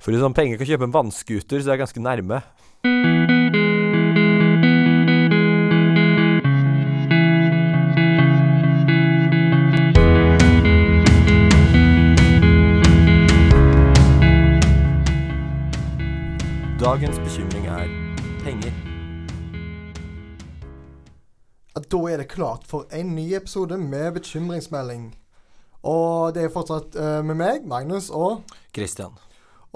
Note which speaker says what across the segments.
Speaker 1: For liksom, penger kan kjøpe en vannskuter, så det er ganske nærme. Dagens bekymring er penger.
Speaker 2: Ja, Da er det klart for en ny episode med bekymringsmelding. Og det er fortsatt eh, med meg, Magnus, og
Speaker 1: Christian.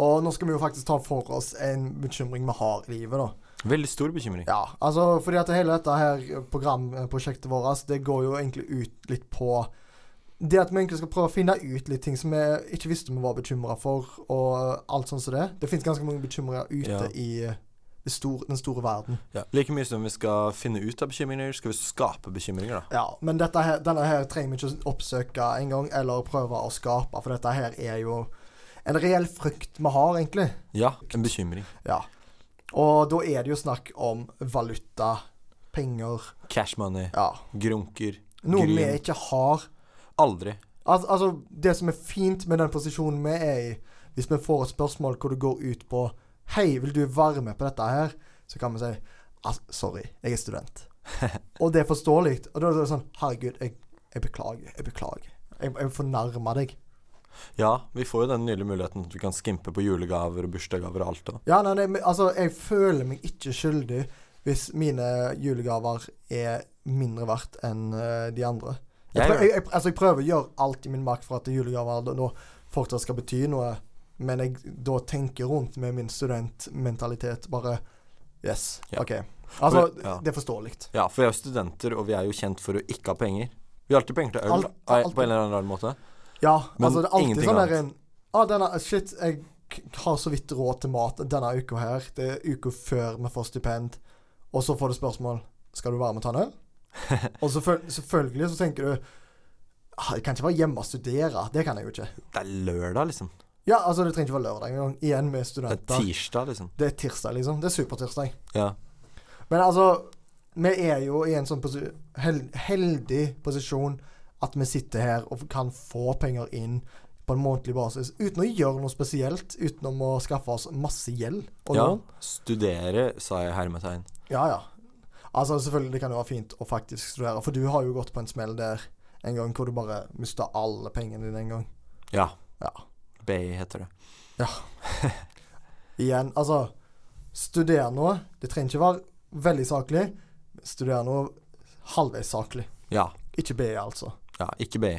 Speaker 2: Og nå skal vi jo faktisk ta for oss en bekymring vi har i livet, da.
Speaker 1: Veldig stor bekymring.
Speaker 2: Ja, altså fordi at hele dette her programprosjektet vårt, altså, det går jo egentlig ut litt på det at vi egentlig skal prøve å finne ut litt ting som vi ikke visste vi var bekymra for, og alt sånt som det. Det fins ganske mange bekymringer ute
Speaker 1: Ja.
Speaker 2: i eh, det stor- den store verden.
Speaker 1: Ja. Like mye som vi skal finne ut av bekymringer, skal vi skape bekymringer, da.
Speaker 2: Ja, men dette her, denne her trenger vi ikke oppsøke en gang, eller prøve å skape, for dette her er jo en reell frykt vi har, egentlig.
Speaker 1: Ja, en bekymring.
Speaker 2: Ja. Og da er det jo snakk om valuta, penger
Speaker 1: Cash money,
Speaker 2: Ja.
Speaker 1: grunker,
Speaker 2: Noe vi
Speaker 1: grin.
Speaker 2: ikke har.
Speaker 1: Aldri.
Speaker 2: Al altså, det som er fint med den posisjonen vi er i, hvis vi får et spørsmål hvor det går ut på Hei, vil du være med på dette her? Så kan vi si «Al- Sorry, jeg er student. Og det er forståelig. Og da er det sånn Herregud, jeg, jeg beklager. Jeg beklager. Jeg, jeg fornærma deg.
Speaker 1: Ja, vi får jo den nydelige muligheten at vi kan skimpe på julegaver og bursdagsgaver og alt da.
Speaker 2: Ja, nei, nei, men, altså, jeg føler meg ikke skyldig hvis mine julegaver er mindre verdt enn eh, de andre. Jeg,
Speaker 1: Jeg
Speaker 2: prø-
Speaker 1: gjør det.
Speaker 2: jeg, jeg, altså, jeg prøver å gjøre alt i min makt for at julegaver da- nå fortsatt skal bety noe, men jeg da tenker rundt med min studentmentalitet bare Yes,
Speaker 1: Ja.
Speaker 2: OK. Altså,
Speaker 1: For- ja.
Speaker 2: det er forståelig.
Speaker 1: Ja, for vi er jo studenter, og vi er jo kjent for å ikke ha penger. Vi har alltid penger til øl,
Speaker 2: Alt-
Speaker 1: eh,
Speaker 2: alt-
Speaker 1: på en eller annen rar måte.
Speaker 2: Ja,
Speaker 1: Men
Speaker 2: altså, det er alltid
Speaker 1: ingenting
Speaker 2: sånn
Speaker 1: annet.
Speaker 2: der en ah, denne, Shit, jeg k- har så vidt råd til mat denne uka her. Det er uka før vi får stipend. Og så får du spørsmål Skal du være med og ta en øl. Og selvføl selvfølgelig så tenker du ah, Jeg kan ikke være hjemme og studere. Det kan jeg jo ikke.
Speaker 1: Det er lørdag, liksom.
Speaker 2: Ja, altså Det trenger ikke være lørdag engang. Igjen med
Speaker 1: Det er
Speaker 2: studenter.
Speaker 1: tirsdag, liksom.
Speaker 2: Det er tirsdag, liksom. Det er supertirsdag.
Speaker 1: Ja.
Speaker 2: Men altså, vi er jo i en sånn posi hel heldig posisjon at vi sitter her og kan få penger inn på en månedlig basis uten å gjøre noe spesielt, utenom å skaffe oss masse gjeld og
Speaker 1: ja.
Speaker 2: lån.
Speaker 1: Studere, sa jeg i hermetegn.
Speaker 2: Ja, ja. Altså, selvfølgelig det kan jo være fint å faktisk studere, for du har jo gått på en smell der en gang hvor du bare mista alle pengene dine en gang.
Speaker 1: Ja.
Speaker 2: Ja.
Speaker 1: BI heter det.
Speaker 2: Igjen, altså Studer noe. Det trenger ikke være veldig saklig. Studer noe halvveis saklig.
Speaker 1: Ja.
Speaker 2: Ikke BI, altså.
Speaker 1: Ja, ikke BI.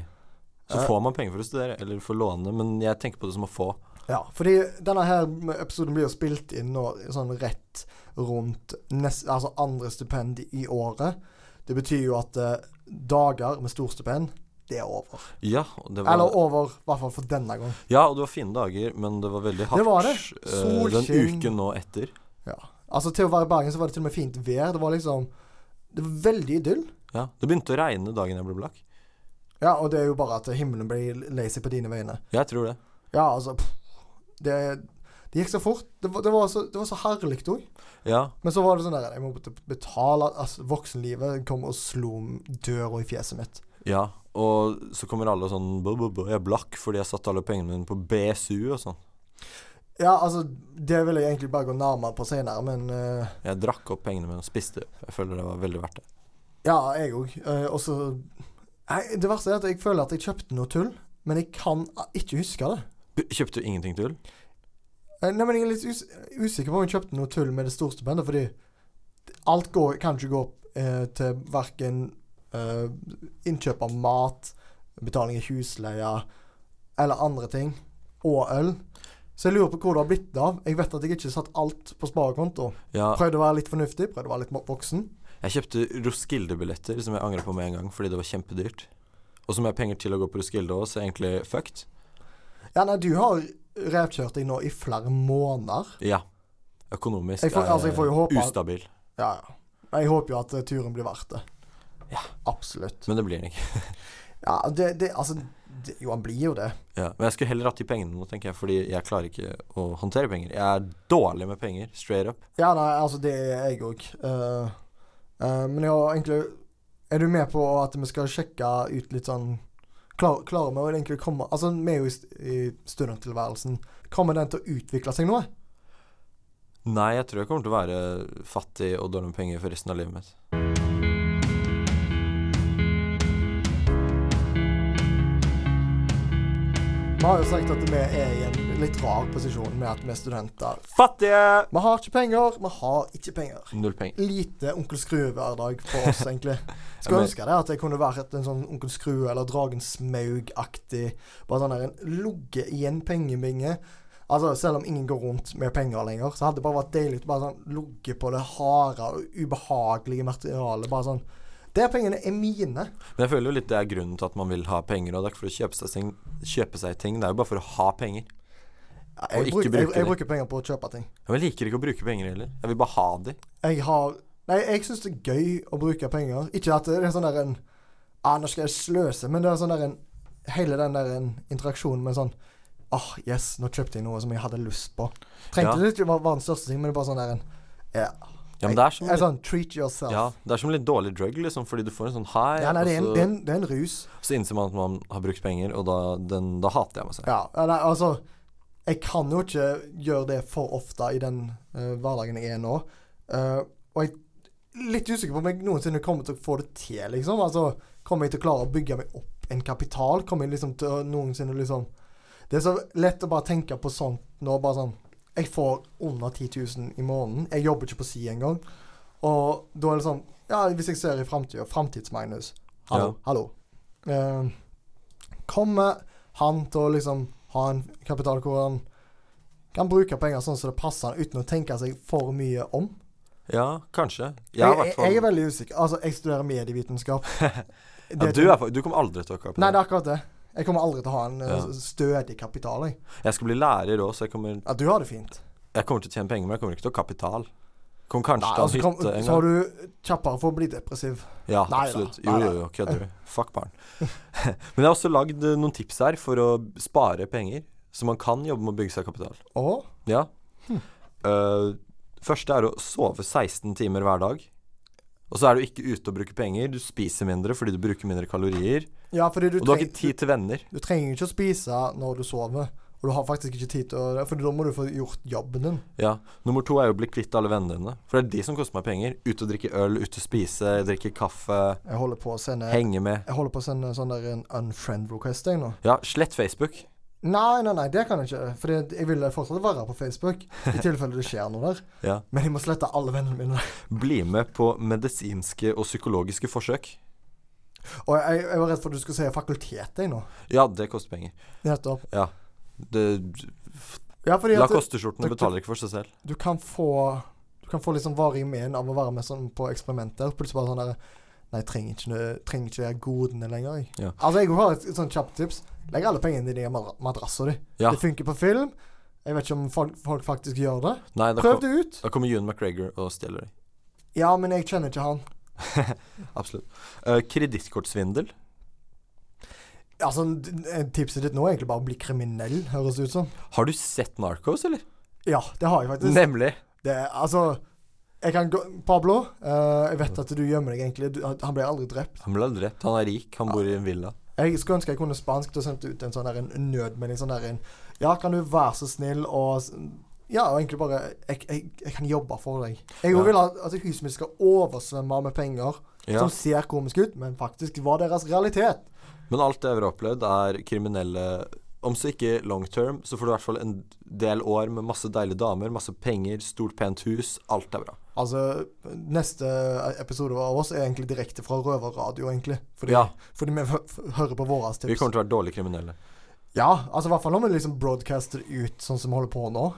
Speaker 1: Så
Speaker 2: Eh.
Speaker 1: får man penger for å studere, eller for å låne, men jeg tenker på det som å få.
Speaker 2: Ja, fordi denne her episoden blir jo spilt inn nå sånn rett rundt nest, altså andre stipend i året. Det betyr jo at eh, dager med storstipend, det er over.
Speaker 1: Ja, og det var
Speaker 2: Eller over, i hvert fall for denne gang.
Speaker 1: Ja, og det var fine dager, men det var veldig hardt
Speaker 2: Det var det.
Speaker 1: eh, den
Speaker 2: Solskinn.
Speaker 1: uken nå etter.
Speaker 2: Ja. Altså til å være i Bergen så var det til og med fint vær. Det var liksom Det var veldig idyll.
Speaker 1: Ja, Det begynte å regne dagen jeg ble blakk.
Speaker 2: Ja, og det er jo bare at himmelen blir lei seg på dine vegne.
Speaker 1: Jeg tror det.
Speaker 2: Ja, altså pff, Det, det gikk så fort. Det var, det var så, det var så herlig òg.
Speaker 1: Ja,
Speaker 2: Men så var det sånn der Jeg måtte betale altså, Voksenlivet kom og slo døra i fjeset mitt.
Speaker 1: ja. Og så kommer alle og sånn bo, bo, bo, Jeg er blakk fordi jeg satte alle pengene mine på BSU og sånn.
Speaker 2: Ja, altså Det vil jeg egentlig bare gå nærmere på senere, men eh,
Speaker 1: Jeg drakk opp pengene mine og spiste. Jeg føler det var veldig verdt det.
Speaker 2: Ja, jeg òg. og så Nei, Det verste er at jeg føler at jeg kjøpte noe tull, men jeg kan eh, ikke huske det.
Speaker 1: B- Kjøpte du ingenting til?
Speaker 2: Eh, Nei, men Jeg er litt us usikker på om jeg kjøpte noe tull med det store stipendet, fordi alt går, kan ikke gå eh, til verken eh, innkjøp av mat, betaling i husleie eller andre ting, og øl. Så jeg lurer på hvor det har blitt av. Jeg vet at jeg ikke satt alt på sparekonto.
Speaker 1: Ja,
Speaker 2: Prøvde å være litt fornuftig, prøvde å være litt mo- voksen.
Speaker 1: jeg kjøpte Roskilde-billetter som jeg angrer på med en gang, fordi det var kjempedyrt. Og som jeg har penger til å gå på Roskilde òg, så jeg er egentlig fucked.
Speaker 2: Ja, nei, du har revkjørt deg nå i flere måneder.
Speaker 1: Ja. Økonomisk
Speaker 2: Jeg får- altså, jeg får jo håpe
Speaker 1: er
Speaker 2: at-
Speaker 1: ustabil.
Speaker 2: Ja, ja. Men Jeg håper jo at eh, turen blir verdt det.
Speaker 1: Ja.
Speaker 2: Absolutt.
Speaker 1: Men det blir den ikke.
Speaker 2: Ja, det, det Altså, det, jo, han blir jo det.
Speaker 1: Ja, men jeg skulle heller hatt de pengene nå, tenker jeg, fordi jeg klarer ikke å håndtere penger. Jeg er dårlig med penger, straight up.
Speaker 2: Ja, nei, altså det er jeg òg. men ja, egentlig Er du med på at vi skal sjekke ut litt sånn klar, Klarer vi å egentlig komme Altså, vi er jo i, st- i studenttilværelsen. Kommer den til å utvikle seg noe?
Speaker 1: Nei, jeg tror jeg kommer til å være fattig og dårlig med penger for resten av livet mitt.
Speaker 2: Vi har jo sagt at vi er i en litt rar posisjon med at vi er studenter.
Speaker 1: Fattige!
Speaker 2: Vi har ikke penger. Vi har ikke penger.
Speaker 1: Null penger.
Speaker 2: Lite Onkel Skrue-hverdag for oss, egentlig.
Speaker 1: Ja,
Speaker 2: Skulle
Speaker 1: men-
Speaker 2: ønske det at jeg kunne vært en sånn Onkel Skrue eller Dragen Smaug-aktig. Bare sånn der en ligge i en pengebinge. Altså, selv om ingen går rundt med penger lenger, så hadde det bare vært deilig å bare sånn ligge på det harde og ubehagelige materialet. Bare sånn De pengene er mine.
Speaker 1: Men jeg føler jo litt det er grunnen til at man vil ha penger. Og det er ikke for å kjøpe seg ting, kjøpe seg ting det er jo bare for å ha penger. Og
Speaker 2: Jeg,
Speaker 1: ikke
Speaker 2: bruk, jeg,
Speaker 1: bruke
Speaker 2: jeg
Speaker 1: det.
Speaker 2: bruker penger på å kjøpe ting.
Speaker 1: Men jeg liker ikke å bruke penger heller. Jeg vil bare ha de.
Speaker 2: Jeg har Nei, jeg syns det er gøy å bruke penger. Ikke at det er sånn der en ah, nå skal jeg sløse, men det er sånn der en Hele den der en interaksjonen med sånn Åh, yes, nå kjøpte jeg noe som jeg hadde lyst på. Trengte
Speaker 1: Ja.
Speaker 2: det ikke være den største ting, men det er bare sånn der en ja.
Speaker 1: Ja, men det er som,
Speaker 2: Jeg, er sånn, Treat yourself.
Speaker 1: ja, det er som litt dårlig drug, liksom, fordi du får en sånn high,
Speaker 2: Ja, nei, det, er en,
Speaker 1: og
Speaker 2: det, er
Speaker 1: så,
Speaker 2: en, det er en rus.
Speaker 1: så innser man at man har brukt penger, og da, den, da hater jeg meg selv.
Speaker 2: Ja, ja, nei, altså Jeg kan jo ikke gjøre det for ofte i den eh, hverdagen jeg er nå. Eh, og jeg er litt usikker på om jeg noensinne kommer til å få det til, liksom. Altså, kommer jeg til å klare å bygge meg opp en kapital? Kommer jeg liksom til å noensinne liksom Det er så lett å bare tenke på sånt nå, bare sånn Jeg får under 10 000 i måneden. Jeg jobber ikke på si engang. Og da er det sånn Ja, hvis jeg ser i framtida, framtids-Magnus Hallo.
Speaker 1: Ja.
Speaker 2: hallo. Eh, kommer han til å liksom ha en kapital hvor han kan bruke penger sånn som det passer han, uten å tenke seg for mye om.
Speaker 1: Ja, kanskje. Jeg, er i
Speaker 2: Jeg, jeg,
Speaker 1: hvert fall
Speaker 2: er veldig usikker. Altså, jeg studerer medievitenskap.
Speaker 1: ja, du, er, fa- du kommer aldri til å kappe
Speaker 2: Nei, det
Speaker 1: det.
Speaker 2: er akkurat det. Jeg kommer aldri til å ha en eh,
Speaker 1: Ja.
Speaker 2: stødig kapital. Jeg.
Speaker 1: Jeg skal bli lærer òg, så jeg kommer,
Speaker 2: Ja, du har det fint.
Speaker 1: jeg kommer til å tjene penger, men jeg kommer ikke til å ha kapital. Kommer kanskje
Speaker 2: Nei,
Speaker 1: til å
Speaker 2: altså,
Speaker 1: ha
Speaker 2: kom,
Speaker 1: hytte en
Speaker 2: så
Speaker 1: gang.
Speaker 2: har du kjappere for å bli depressiv.
Speaker 1: Ja,
Speaker 2: Nei da,
Speaker 1: absolutt.
Speaker 2: nei
Speaker 1: Jo, jo,
Speaker 2: da.
Speaker 1: jo, kødder du. Fuck barn. Men jeg har også lagd eh, noen tips her for å spare penger, så man kan jobbe med å bygge seg kapital.
Speaker 2: Og
Speaker 1: Ja.
Speaker 2: Hm.
Speaker 1: Eh, første er å sove 16 timer hver dag. Og så er du ikke ute og bruker penger. Du spiser mindre fordi du bruker mindre kalorier.
Speaker 2: Ja, fordi du,
Speaker 1: Og du har
Speaker 2: treng-
Speaker 1: ikke tid til venner.
Speaker 2: du, du trenger ikke å spise når du sover. Og du har faktisk ikke tid til å For da må du få gjort jobben din.
Speaker 1: Ja. Nummer to er jo å bli kvitt alle vennene dine. For det er de som koster meg penger. Ute og drikke øl, ute og spise, drikke kaffe,
Speaker 2: Jeg holder på å sende
Speaker 1: henge med.
Speaker 2: Jeg holder på å sende sånn der en unfriend request jeg nå.
Speaker 1: Ja, slett Facebook.
Speaker 2: Nei, nei, nei, det kan jeg ikke. For jeg vil fortsatt være på Facebook. I tilfelle det skjer noe der.
Speaker 1: Ja.
Speaker 2: Men jeg må slette alle vennene mine.
Speaker 1: Bli med på medisinske og psykologiske forsøk.
Speaker 2: Og jeg, jeg var redd for at du skulle si fakultet, jeg nå.
Speaker 1: Ja, det koster penger.
Speaker 2: Nettopp.
Speaker 1: Ja. Det,
Speaker 2: Ja, fordi
Speaker 1: la
Speaker 2: at du,
Speaker 1: kosteskjortene betaler ikke for seg selv.
Speaker 2: du kan få Du kan få litt sånn varig men av å være med sånn på eksperimenter. Plutselig bare sånn der Nei, jeg trenger ikke, noe- trenger ikke de godene lenger, jeg.
Speaker 1: Ja.
Speaker 2: Altså, jeg har et sånn kjapt tips. Legg alle pengene dine i madra- madrassen din.
Speaker 1: Ja.
Speaker 2: Det funker på film. Jeg vet ikke om folk, folk faktisk gjør det.
Speaker 1: Nei, da,
Speaker 2: Prøv
Speaker 1: kom,
Speaker 2: det ut.
Speaker 1: da kommer Ewan McGregor og stjeler deg.
Speaker 2: Ja, men jeg kjenner ikke han.
Speaker 1: Absolutt. Uh, Kredittkortsvindel.
Speaker 2: Altså, d- tipset ditt nå er egentlig bare å bli kriminell, høres det ut som.
Speaker 1: Har du sett Narcos, eller?
Speaker 2: Ja, det har jeg faktisk.
Speaker 1: Nemlig.
Speaker 2: Det, er- altså jeg kan gå, Pablo, eh, jeg vet at du gjemmer deg egentlig. Du, han ble aldri drept.
Speaker 1: Han ble aldri drept. Han er rik, han bor i en villa.
Speaker 2: Jeg skulle ønske jeg kunne spansk og sendte ut en sånn der en nødmelding. Sånn der en Ja, kan du være så snill og s- Ja, og egentlig bare Jeg, jeg, jeg kan jobbe for deg. Jeg
Speaker 1: Ja.
Speaker 2: vil at, at huset mitt skal oversvømme med penger
Speaker 1: Ja.
Speaker 2: som ser komisk ut, men faktisk var deres realitet.
Speaker 1: Men alt det jeg har opplevd, er kriminelle Om så ikke long term, så får du i hvert fall en del år med masse deilige damer, masse penger, stort, pent hus. Alt er bra.
Speaker 2: Altså, neste episode av oss er egentlig direkte fra røverradio, egentlig. Fordi,
Speaker 1: Ja.
Speaker 2: fordi vi hø- f- hører på våre
Speaker 1: Vi
Speaker 2: tips.
Speaker 1: kommer til å være dårlige kriminelle.
Speaker 2: Ja, altså i hvert fall når vi liksom broadcaster ut sånn som vi holder på nå.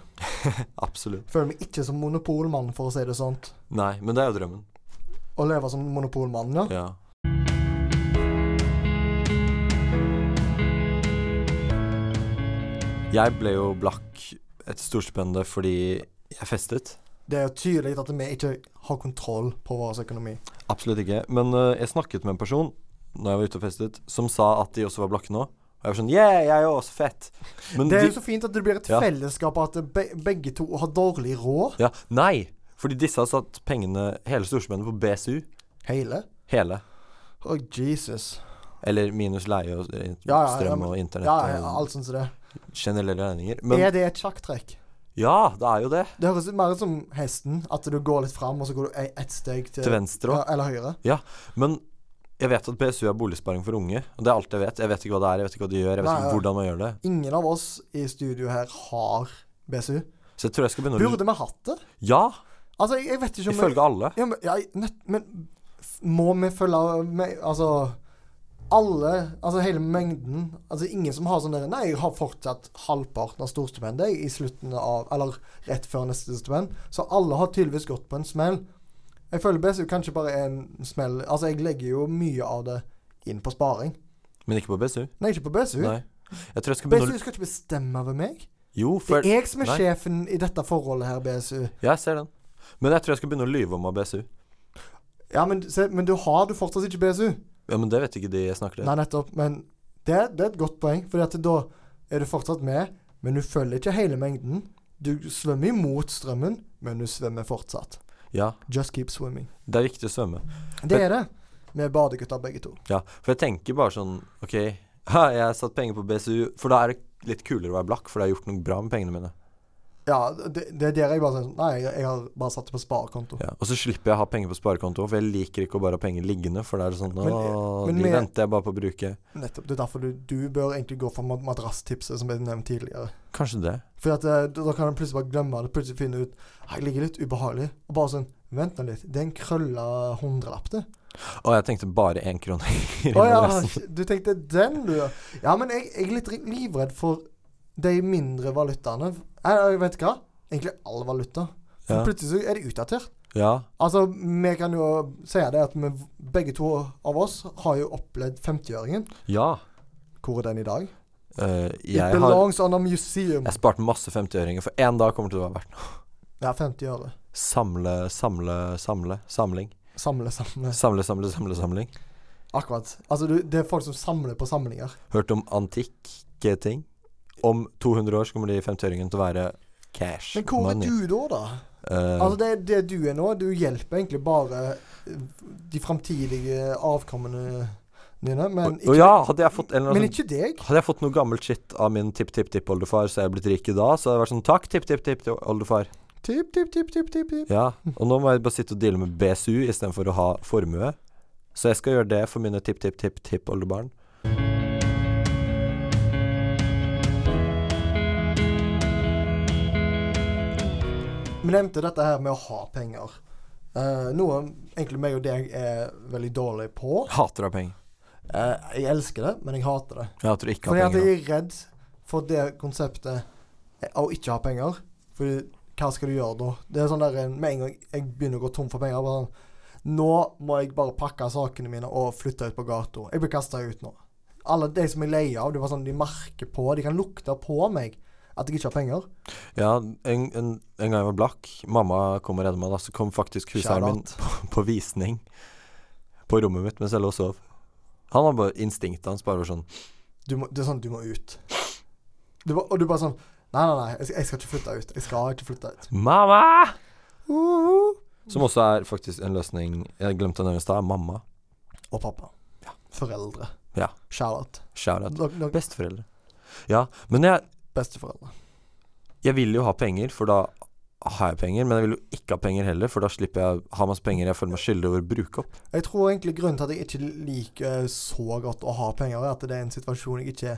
Speaker 1: Absolutt.
Speaker 2: Føler vi ikke som monopolmann, for å si det sånt.
Speaker 1: Nei, men det er jo drømmen.
Speaker 2: Å leve som monopolmann, ja.
Speaker 1: Ja. Jeg ble jo blakk et storstipend fordi jeg festet.
Speaker 2: Det er jo tydelig at vi ikke har kontroll på vår økonomi.
Speaker 1: Absolutt ikke. Men øh, jeg snakket med en person når jeg var ute og festet, som sa at de også var blakke nå. Og jeg var sånn Yeah, jeg er jo også fett. Men
Speaker 2: Det er
Speaker 1: de-
Speaker 2: jo så fint at det blir et
Speaker 1: Ja.
Speaker 2: fellesskap, at be begge to har dårlig råd.
Speaker 1: Ja, nei, fordi disse har satt pengene, hele storsmennene, på BSU.
Speaker 2: Hele.
Speaker 1: Hele.
Speaker 2: Å, Jesus.
Speaker 1: Eller minus leie og eh,
Speaker 2: Ja, ja, ja,
Speaker 1: strøm
Speaker 2: men-
Speaker 1: og internett.
Speaker 2: Ja, ja,
Speaker 1: og-
Speaker 2: alt sånt som det.
Speaker 1: Generelle regninger. Men
Speaker 2: er det et sjakktrekk?
Speaker 1: ja, det er jo det.
Speaker 2: Det høres mer ut som hesten. At du går litt fram, og så går du e- ett steg til,
Speaker 1: Til venstre òg.
Speaker 2: Ja, eller høyre.
Speaker 1: Men jeg vet at BSU er boligsparing for unge. Og det er alt jeg vet. Jeg vet ikke hva det er, jeg vet ikke hva de gjør, jeg vet
Speaker 2: Nei,
Speaker 1: ikke
Speaker 2: ja.
Speaker 1: hvordan man gjør det.
Speaker 2: Ingen av oss i studio her har BSU.
Speaker 1: Så jeg tror jeg skal begynne å
Speaker 2: Burde vi hatt det?
Speaker 1: Ja!
Speaker 2: Altså, jeg, jeg vet ikke om vi-
Speaker 1: Ifølge alle.
Speaker 2: Ja, men, ja, nett, men f- må vi følge med Altså alle, altså hele mengden Altså ingen som har sånn der Nei, jeg har fortsatt halvparten av storstipendet jeg, i slutten av Eller rett før neste stipend. Så alle har tydeligvis gått på en smell. Jeg føler BSU kanskje bare er en smell Altså, jeg legger jo mye av det inn på sparing.
Speaker 1: Men ikke på BSU.
Speaker 2: Nei, ikke på BSU.
Speaker 1: Nei. Jeg tror jeg skal begynne
Speaker 2: BSU
Speaker 1: å
Speaker 2: skal ikke bestemme over meg.
Speaker 1: Jo,
Speaker 2: Det
Speaker 1: for
Speaker 2: er jeg som er
Speaker 1: Nei.
Speaker 2: sjefen i dette forholdet her, BSU.
Speaker 1: Jeg ser den. Men jeg tror jeg skal begynne å lyve om å ha BSU.
Speaker 2: Ja, men, se, men du har du fortsatt ikke BSU.
Speaker 1: Ja, Men det vet ikke de jeg snakker til.
Speaker 2: Nei, nettopp. Men det, det er et godt poeng, Fordi at da er du fortsatt med, men du følger ikke hele mengden. Du svømmer imot strømmen, men du svømmer fortsatt.
Speaker 1: Ja,
Speaker 2: Just keep swimming.
Speaker 1: det er viktig å svømme.
Speaker 2: Det er det. Vi er badegutter begge to.
Speaker 1: Ja, for jeg tenker bare sånn OK, ha, jeg har satt penger på BSU, for da er det litt kulere å være blakk, for da har jeg gjort noe bra med pengene mine.
Speaker 2: Ja, det, det er der jeg bare sier sånn Nei, jeg, jeg har bare satt det på sparekonto.
Speaker 1: Ja. Og så slipper jeg å ha penger på sparekonto, for jeg liker ikke å bare ha penger liggende, for da er det sånn
Speaker 2: Men-
Speaker 1: Åh,
Speaker 2: men
Speaker 1: de
Speaker 2: med-
Speaker 1: venter jeg bare på å bruke.
Speaker 2: Nettopp. Det er derfor du, du bør egentlig gå for mad- madrasstipset som ble nevnt tidligere.
Speaker 1: Kanskje det.
Speaker 2: For at, eh, da da kan du plutselig bare glemme det, plutselig finne ut «Ah, Jeg ligger litt ubehagelig. Og bare sånn Vent nå litt. Det er en krølla hundrelapp, det.
Speaker 1: Å, jeg tenkte bare én krone. i
Speaker 2: Å ja,
Speaker 1: madrassen.
Speaker 2: du tenkte den, du. ja. Ja, men jeg, jeg er litt ri- livredd for de mindre valutaene. Jeg, jeg vet hva. Egentlig all valuta. For
Speaker 1: Ja.
Speaker 2: Plutselig så er de utdatert.
Speaker 1: ja.
Speaker 2: Altså, vi kan jo si det at vi begge to av oss har jo opplevd 50-øringen.
Speaker 1: ja.
Speaker 2: Hvor er den i dag?
Speaker 1: Eh,
Speaker 2: It
Speaker 1: jeg har
Speaker 2: belongs on a museum.
Speaker 1: Jeg sparte masse 50-øringer, for én dag kommer til å være verdt noe.
Speaker 2: Ja, 50 øre.
Speaker 1: Samle, samle, samle. Samling.
Speaker 2: Samle, samle.
Speaker 1: Samle, samle, samle, samling.
Speaker 2: Akkurat. Altså, du, det er folk som samler på samlinger.
Speaker 1: Hørt om antikke ting. Om 200 år så kommer de 50-øringene til å være cash
Speaker 2: Men hvor er
Speaker 1: money.
Speaker 2: du da, da?
Speaker 1: Eh,
Speaker 2: Altså det, det du er nå, du hjelper egentlig bare eh, de framtidige avkommene dine,
Speaker 1: og,
Speaker 2: men
Speaker 1: og
Speaker 2: ikke,
Speaker 1: ja, hadde jeg fått en eller
Speaker 2: men
Speaker 1: annen sånn-
Speaker 2: ikke deg.
Speaker 1: hadde jeg fått noe gammelt shit av min tipp-tipp-tippoldefar, så hadde jeg blitt rik i dag, så hadde jeg vært sånn Takk, tipp-tipp-tipp-oldefar.
Speaker 2: Tipp, tipp, tipp, tipp, tipp, tipp.
Speaker 1: Ja. Og nå må jeg bare sitte og deale med BSU istedenfor å ha formue. Så jeg skal gjøre det for mine tipp-tipp-tipp-tippoldebarn.
Speaker 2: Vi nevnte dette her med å ha penger. Eh, noe egentlig meg og deg er veldig dårlig på.
Speaker 1: Hater å ha penger.
Speaker 2: Eh, jeg elsker det, men jeg hater det.
Speaker 1: Jeg hater å ikke
Speaker 2: Fordi
Speaker 1: ha
Speaker 2: at
Speaker 1: penger.
Speaker 2: jeg er redd for det konseptet eh, å ikke ha penger. For hva skal du gjøre da? Det er sånn der en- Med en gang jeg begynner å gå tom for penger bare sånn, Nå må jeg bare pakke sakene mine og flytte ut på gata. Jeg blir kasta ut nå. Alle de som jeg leier av, det var sånn, de merker på De kan lukte på meg at jeg ikke har penger.
Speaker 1: Ja, en, en, en gang jeg var blakk, mamma kom og redda meg, da, så kom faktisk huseieren min
Speaker 2: Shout
Speaker 1: på, på visning på rommet mitt mens jeg lå og sov. Han har bare instinktet hans bare var sånn
Speaker 2: Du må, det er sånn Du må ut. Du, ba- og du bare sånn Nei, nei, nei. Jeg skal, jeg skal ikke flytte ut. Jeg skal ikke flytte ut.
Speaker 1: Mamma! Som også er faktisk en løsning Jeg glemte å nevne i stad. Mamma.
Speaker 2: Og pappa. Foreldre.
Speaker 1: Ja.
Speaker 2: Shout-out.
Speaker 1: Shout-out.
Speaker 2: Nok- nok-
Speaker 1: Besteforeldre. Ja, men jeg,
Speaker 2: Besteforeldre.
Speaker 1: jeg vil jo ha penger, for da har jeg penger. Men jeg vil jo ikke ha penger heller, for da slipper jeg å ha masse penger jeg føler meg skyldig over å bruke opp.
Speaker 2: Jeg tror egentlig grunnen til at jeg ikke liker eh, så godt å ha penger, er at det er en situasjon jeg ikke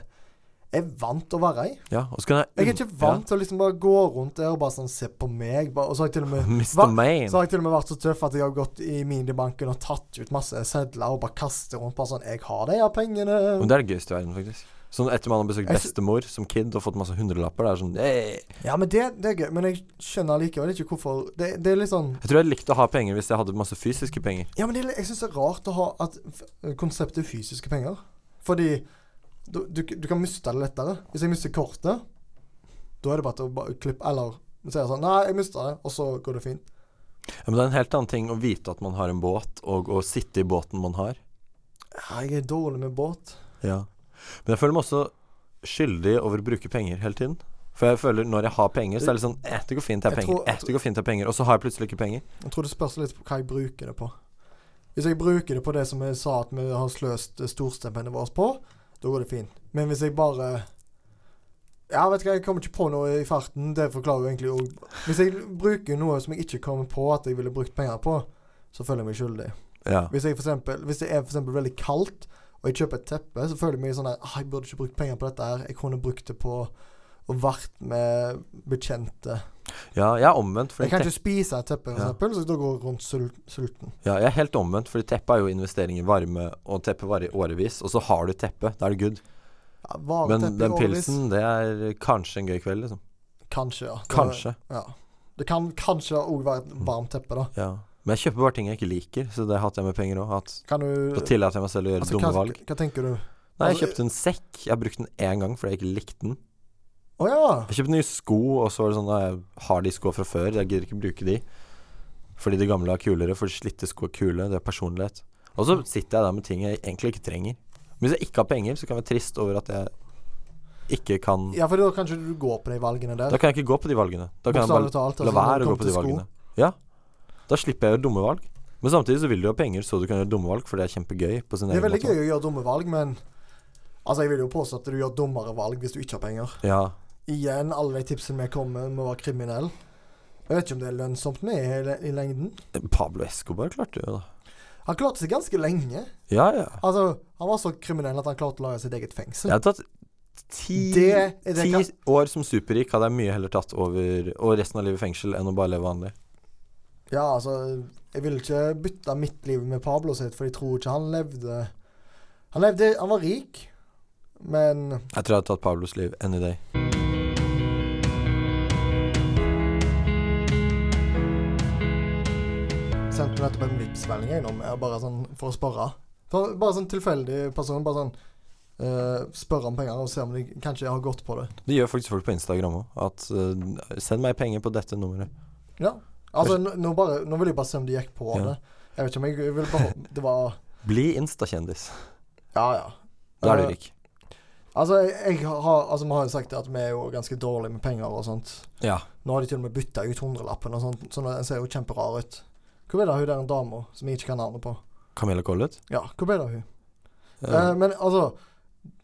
Speaker 2: er vant til å være i.
Speaker 1: Ja, og så kan jeg
Speaker 2: Jeg er ikke vant til å liksom bare gå rundt der og bare sånn se på meg. Bare, og så har jeg til og
Speaker 1: Ja.
Speaker 2: med
Speaker 1: Mr.
Speaker 2: Hva?
Speaker 1: Main.
Speaker 2: så har jeg til og med vært så tøff at jeg har gått i minibanken og tatt ut masse sedler og bare kastet rundt. Bare sånn 'Jeg har de her
Speaker 1: Men
Speaker 2: pengene'.
Speaker 1: det er det gøyeste i verden, faktisk. Sånn etter man har besøkt
Speaker 2: Jeg sy-
Speaker 1: bestemor som kid og fått masse hundrelapper, det er sånn «Hey!»
Speaker 2: Ja, men det, det er gøy. Men jeg skjønner likevel ikke hvorfor Det, det er litt sånn
Speaker 1: Jeg tror jeg likte å ha penger hvis jeg hadde masse fysiske penger.
Speaker 2: Ja, men det, er litt- jeg syns det er rart å ha at f- konseptet fysiske penger. Fordi du, du, du kan miste det lettere. Hvis jeg mister kortet, da er det bare til å bare klippe Eller si sånn Nei, jeg mista det, og så går det fint.
Speaker 1: Ja, men det er en helt annen ting å vite at man har en båt, og å sitte i båten man har.
Speaker 2: Ja, jeg er dårlig med båt.
Speaker 1: Ja. Men jeg føler meg også skyldig over å bruke penger hele tiden. For jeg føler når jeg har penger, så er det litt sånn eh, det går fint, jeg har
Speaker 2: Jeg
Speaker 1: penger.
Speaker 2: tror-
Speaker 1: Eh, det går fint, jeg har penger. Og så har jeg plutselig ikke penger.
Speaker 2: Jeg tror det spørs litt på hva jeg bruker det på. Hvis jeg bruker det på det som jeg sa at vi har sløst eh, storstipendet vårt på, da går det fint. Men hvis jeg bare Ja, vet du hva, Jeg kommer ikke på noe i farten. Det forklarer jo egentlig òg Hvis jeg bruker noe som jeg ikke kommer på at jeg ville brukt penger på, så føler jeg meg skyldig.
Speaker 1: Ja.
Speaker 2: Hvis, jeg for eksempel, hvis det er for eksempel veldig kaldt, og jeg kjøper et teppe, så føler jeg meg sånn der ah, Jeg burde ikke brukt penger på dette her. Jeg kunne brukt det på å vært med bekjente.
Speaker 1: ja, jeg er omvendt. Fordi
Speaker 2: Jeg kan
Speaker 1: tepp-
Speaker 2: ikke spise et teppe, for
Speaker 1: Ja.
Speaker 2: eksempel, så da går jeg rundt sul sulten.
Speaker 1: ja, jeg er helt omvendt, fordi teppet er jo investering i varme, og teppet varer i årevis. Og så har du teppet, da er det good.
Speaker 2: Ja, Vare
Speaker 1: Men
Speaker 2: teppe i
Speaker 1: den
Speaker 2: årevis.
Speaker 1: pilsen, det er kanskje en gøy kveld, liksom.
Speaker 2: Kanskje, ja. Det-
Speaker 1: Kanskje.
Speaker 2: Ja. Det kan kanskje òg være et varmt teppe, da.
Speaker 1: Ja. Men jeg kjøper bare ting jeg ikke liker, så det har hatt jeg med penger òg.
Speaker 2: Kan du
Speaker 1: Da tillater jeg meg selv å gjøre
Speaker 2: altså,
Speaker 1: dumme
Speaker 2: hva,
Speaker 1: valg.
Speaker 2: hva tenker du?
Speaker 1: Nei, jeg
Speaker 2: altså,
Speaker 1: kjøpte en sekk. Jeg har brukt den én gang fordi jeg ikke likte den.
Speaker 2: Å ja.
Speaker 1: Jeg kjøpte nye sko, og så var det sånn «Nei, Jeg har de skoa fra før, jeg gidder ikke bruke de. Fordi de gamle er kulere, for de slitte sko er kule, det er personlighet. Og
Speaker 2: Mm.
Speaker 1: så sitter jeg der med ting jeg egentlig ikke trenger. Men hvis jeg ikke har penger, så kan jeg være trist over at jeg ikke kan
Speaker 2: Ja, for da kan ikke du gå på de valgene der.
Speaker 1: Da kan jeg ikke gå på de valgene. Da kan jeg bare
Speaker 2: Bokstavelig talt.
Speaker 1: la
Speaker 2: altså, når
Speaker 1: være
Speaker 2: det
Speaker 1: å gå
Speaker 2: kommer
Speaker 1: på de
Speaker 2: til sko.
Speaker 1: valgene. Ja. Da slipper jeg å gjøre dumme valg. Men samtidig så vil du ha penger, så du kan gjøre dumme valg, for det er kjempegøy på sin
Speaker 2: Det er
Speaker 1: egen
Speaker 2: veldig
Speaker 1: måte.
Speaker 2: gøy å gjøre dumme valg, men Altså, jeg vil jo påstå at du gjør dummere valg hvis du ikke har penger.
Speaker 1: Ja.
Speaker 2: Igjen, alle de tipsene vi kommer med, med å være kriminell. Jeg vet ikke om det er lønnsomt med i, le- i lengden.
Speaker 1: Pablo Escobar klarte jo det.
Speaker 2: Han klarte seg ganske lenge.
Speaker 1: Ja, ja.
Speaker 2: Altså, han var så kriminell at han klarte å lage sitt eget
Speaker 1: Jeg
Speaker 2: fengsel.
Speaker 1: hadde tatt ti,
Speaker 2: Det er det
Speaker 1: ti
Speaker 2: kan-
Speaker 1: år som superrik hadde jeg mye heller tatt over og resten av livet i fengsel enn å bare leve vanlig.
Speaker 2: Ja, altså Jeg vil ikke bytte mitt liv med Pablo sitt, for jeg tror ikke han levde Han levde Han var rik, men
Speaker 1: Jeg tror jeg hadde tatt Pablos liv any day.
Speaker 2: sendte nettopp en Vipps-melding innom jeg, bare sånn for å spørre. For, bare sånn tilfeldig person. Bare sånn eh, Spørre om penger og se om de kanskje har gått på det.
Speaker 1: Det gjør faktisk folk på Instagram òg. At eh, send meg penger på dette nummeret.
Speaker 2: Ja. Altså, nå, nå, bare, nå vil jeg bare se om de gikk på
Speaker 1: Ja.
Speaker 2: det. Jeg vet ikke om jeg vil beholde Det var
Speaker 1: Bli Insta-kjendis.
Speaker 2: Ja, ja.
Speaker 1: Da er du
Speaker 2: Eh,
Speaker 1: rik.
Speaker 2: Altså, jeg, jeg har, altså, vi har jo sagt det at vi er jo ganske dårlige med penger og sånt.
Speaker 1: Ja.
Speaker 2: Nå har de til og med bytta ut hundrelappen og sånt, så den ser jo kjemperar ut. Hvor ble det av hun der dama som jeg ikke kan navnet på?
Speaker 1: Camilla Collett.
Speaker 2: Ja, hvor ble det av hun?
Speaker 1: Eh,
Speaker 2: Eh, men altså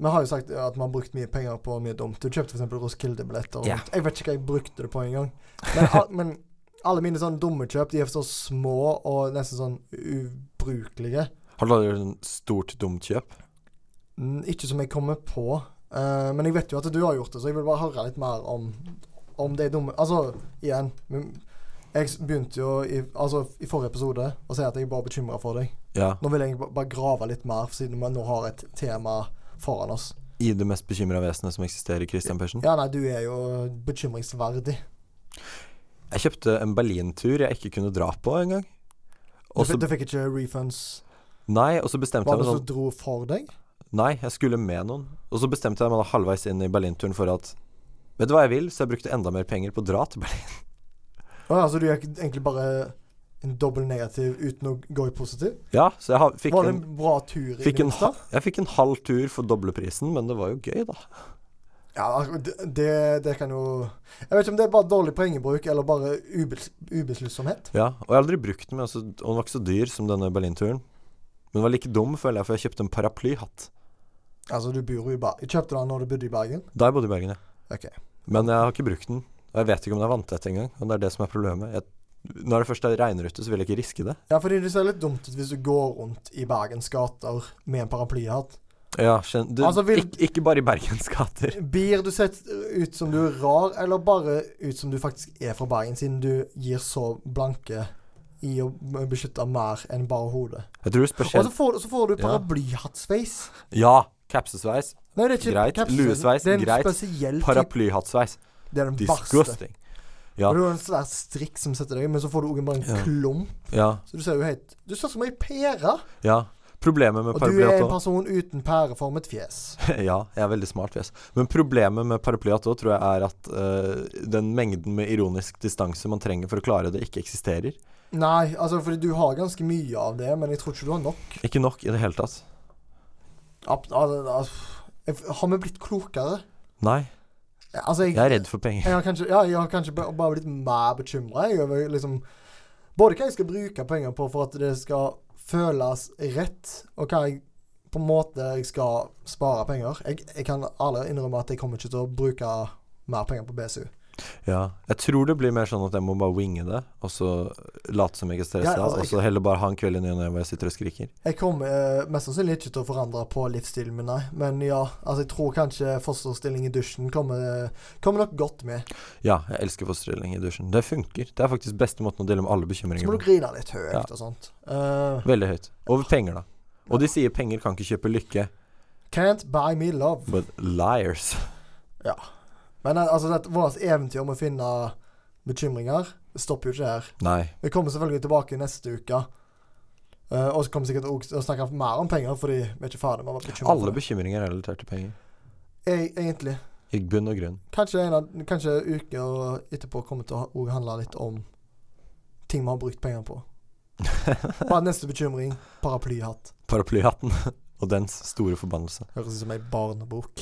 Speaker 2: Vi har jo sagt at man har brukt mye penger på mye dumt. Du kjøpte f.eks. Roskilde-billetter. og
Speaker 1: Ja.
Speaker 2: sånt. Jeg vet ikke hva jeg brukte det på engang. Men, al men alle mine sånne dumme kjøp De er så små og nesten sånn ubrukelige.
Speaker 1: har du aldri gjort en stort dumt kjøp?
Speaker 2: Mm, Ikke som jeg kommer på. Eh, men jeg vet jo at du har gjort det, så jeg vil bare høre litt mer om, om de dumme Altså, igjen men Jeg s- begynte jo i, altså, i forrige episode å si at jeg bare er bekymra for deg.
Speaker 1: Ja.
Speaker 2: Nå vil jeg ba- bare grave litt mer, siden vi nå har et tema foran oss.
Speaker 1: I det mest bekymra vesenet som eksisterer, Christian Persen.
Speaker 2: Ja, nei, du er jo bekymringsverdig.
Speaker 1: Jeg kjøpte en Berlintur jeg ikke kunne dra på engang.
Speaker 2: Du,
Speaker 1: Og så
Speaker 2: fikk- du fikk ikke refunds.
Speaker 1: Nei, og så bestemte
Speaker 2: Var
Speaker 1: jeg
Speaker 2: det
Speaker 1: meg
Speaker 2: som
Speaker 1: sånn
Speaker 2: dro for deg?
Speaker 1: Nei, jeg skulle med noen. Og så bestemte jeg meg da halvveis inn i Berlinturen for at Vet du hva jeg vil? Så jeg brukte enda mer penger på å dra til Berlin.
Speaker 2: Å ja, så du gikk egentlig bare en dobbel negativ uten å gå i positiv?
Speaker 1: Ja, så jeg har, fikk,
Speaker 2: Var det
Speaker 1: en,
Speaker 2: en bra tur i
Speaker 1: fikk, en,
Speaker 2: Grimstad?
Speaker 1: ha- jeg fikk en halv tur for doble prisen, men det var jo gøy, da.
Speaker 2: Ja, altså, det, det- det kan jo Jeg vet ikke om det er bare dårlig poengbruk eller bare ubes, ubesluttsomhet.
Speaker 1: Ja, Og jeg har aldri brukt den, men altså, og den var ikke så dyr som denne Berlinturen. Men den var like dum, føler jeg, for jeg kjøpte en paraplyhatt
Speaker 2: Altså, du bor jo i Bergen. Kjøpte du den når du bodde i Bergen?
Speaker 1: da jeg bodde i Bergen. Ja.
Speaker 2: Ok.
Speaker 1: Men jeg har ikke brukt den. Og jeg vet ikke om det er vanntett engang. Og det er det som er problemet. Jeg, når det først regner ute, så vil jeg ikke riske det.
Speaker 2: Ja, fordi det ser litt dumt ut hvis du går rundt i Bergens gater med en paraplyhatt.
Speaker 1: Ja, skjøn, du,
Speaker 2: Altså, vil-
Speaker 1: ikke, ikke bare i Bergens gater.
Speaker 2: Blir du sett ut som du er rar, eller bare ut som du faktisk er fra Bergen, siden du gir så blanke i å beskytte mer enn bare hodet?
Speaker 1: Jeg tror
Speaker 2: Og så
Speaker 1: spesielt
Speaker 2: får, så får du
Speaker 1: Ja.
Speaker 2: paraplyhattsveis.
Speaker 1: Ja, capsesveis,
Speaker 2: Nei, det er ikke
Speaker 1: Greit.
Speaker 2: kapsel.
Speaker 1: Luesveis,
Speaker 2: Det er en
Speaker 1: greit.
Speaker 2: spesiell type.
Speaker 1: paraplyhattsveis.
Speaker 2: Det er den verste.
Speaker 1: Disgusting. Ja.
Speaker 2: Og Du har en svær strikk som setter deg, men så får du også bare en
Speaker 1: Ja.
Speaker 2: klump.
Speaker 1: Ja,
Speaker 2: Så du ser jo helt Du ser ut som ei pære!
Speaker 1: ja. Problemet med
Speaker 2: Og du er en
Speaker 1: paraplyhatt
Speaker 2: person uten pæreformet fjes.
Speaker 1: Ja, jeg er veldig smart, fjes. Men problemet med paraplyhatt òg tror jeg er at eh, den mengden med ironisk distanse man trenger for å klare det, ikke eksisterer.
Speaker 2: Nei, altså fordi du har ganske mye av det, men jeg tror ikke du har nok.
Speaker 1: Ikke nok i det hele tatt.
Speaker 2: Ab- al- al- jeg- Har vi blitt klokere?
Speaker 1: Nei,
Speaker 2: Altså, jeg,
Speaker 1: jeg er redd for penger.
Speaker 2: jeg har kanskje, ja, jeg har kanskje ba- bare blitt mer bekymra over liksom Både hva jeg skal bruke penger på for at det skal føles rett, og hva jeg på en måte jeg skal spare penger. Jeg, jeg kan ærlig innrømme at jeg kommer ikke til å bruke mer penger på BSU.
Speaker 1: Ja. Jeg tror det blir mer sånn at jeg må bare winge det, og så late som jeg ikke er stressa,
Speaker 2: Ja, altså,
Speaker 1: og så heller bare ha en kveld i ny og ne hvor jeg sitter og skriker.
Speaker 2: Jeg kommer eh, mest sannsynlig ikke til å forandre på livsstilen min, nei. Men ja, altså jeg tror kanskje fosterstilling i dusjen kommer, kommer nok godt med.
Speaker 1: Ja, jeg elsker fosterdeling i dusjen. Det funker. Det er faktisk beste måten å dele med alle bekymringer
Speaker 2: Så må du
Speaker 1: på.
Speaker 2: grine litt høyt
Speaker 1: Ja.
Speaker 2: og sånt. Eh,
Speaker 1: Veldig høyt. Over penger, da. Og de sier penger kan ikke kjøpe lykke,
Speaker 2: can't buy me love.
Speaker 1: but liars.
Speaker 2: Men eh, altså, dette, vårt eventyr om å finne bekymringer stopper jo ikke her.
Speaker 1: Nei.
Speaker 2: Vi kommer selvfølgelig tilbake neste uke. Eh, og så kommer vi sikkert også til å snakke mer om penger, fordi vi er ikke ferdig med å være bekymret
Speaker 1: Alle
Speaker 2: for det.
Speaker 1: bekymringer er relatert til penger.
Speaker 2: E- Egentlig.
Speaker 1: I bunn og grunn.
Speaker 2: Kanskje, en av, kanskje uker etterpå kommer til å ha- også handle litt om ting vi har brukt penger på. Bare neste bekymring paraplyhatt.
Speaker 1: Paraplyhatten og dens store forbannelse.
Speaker 2: Høres ut som ei barnebok.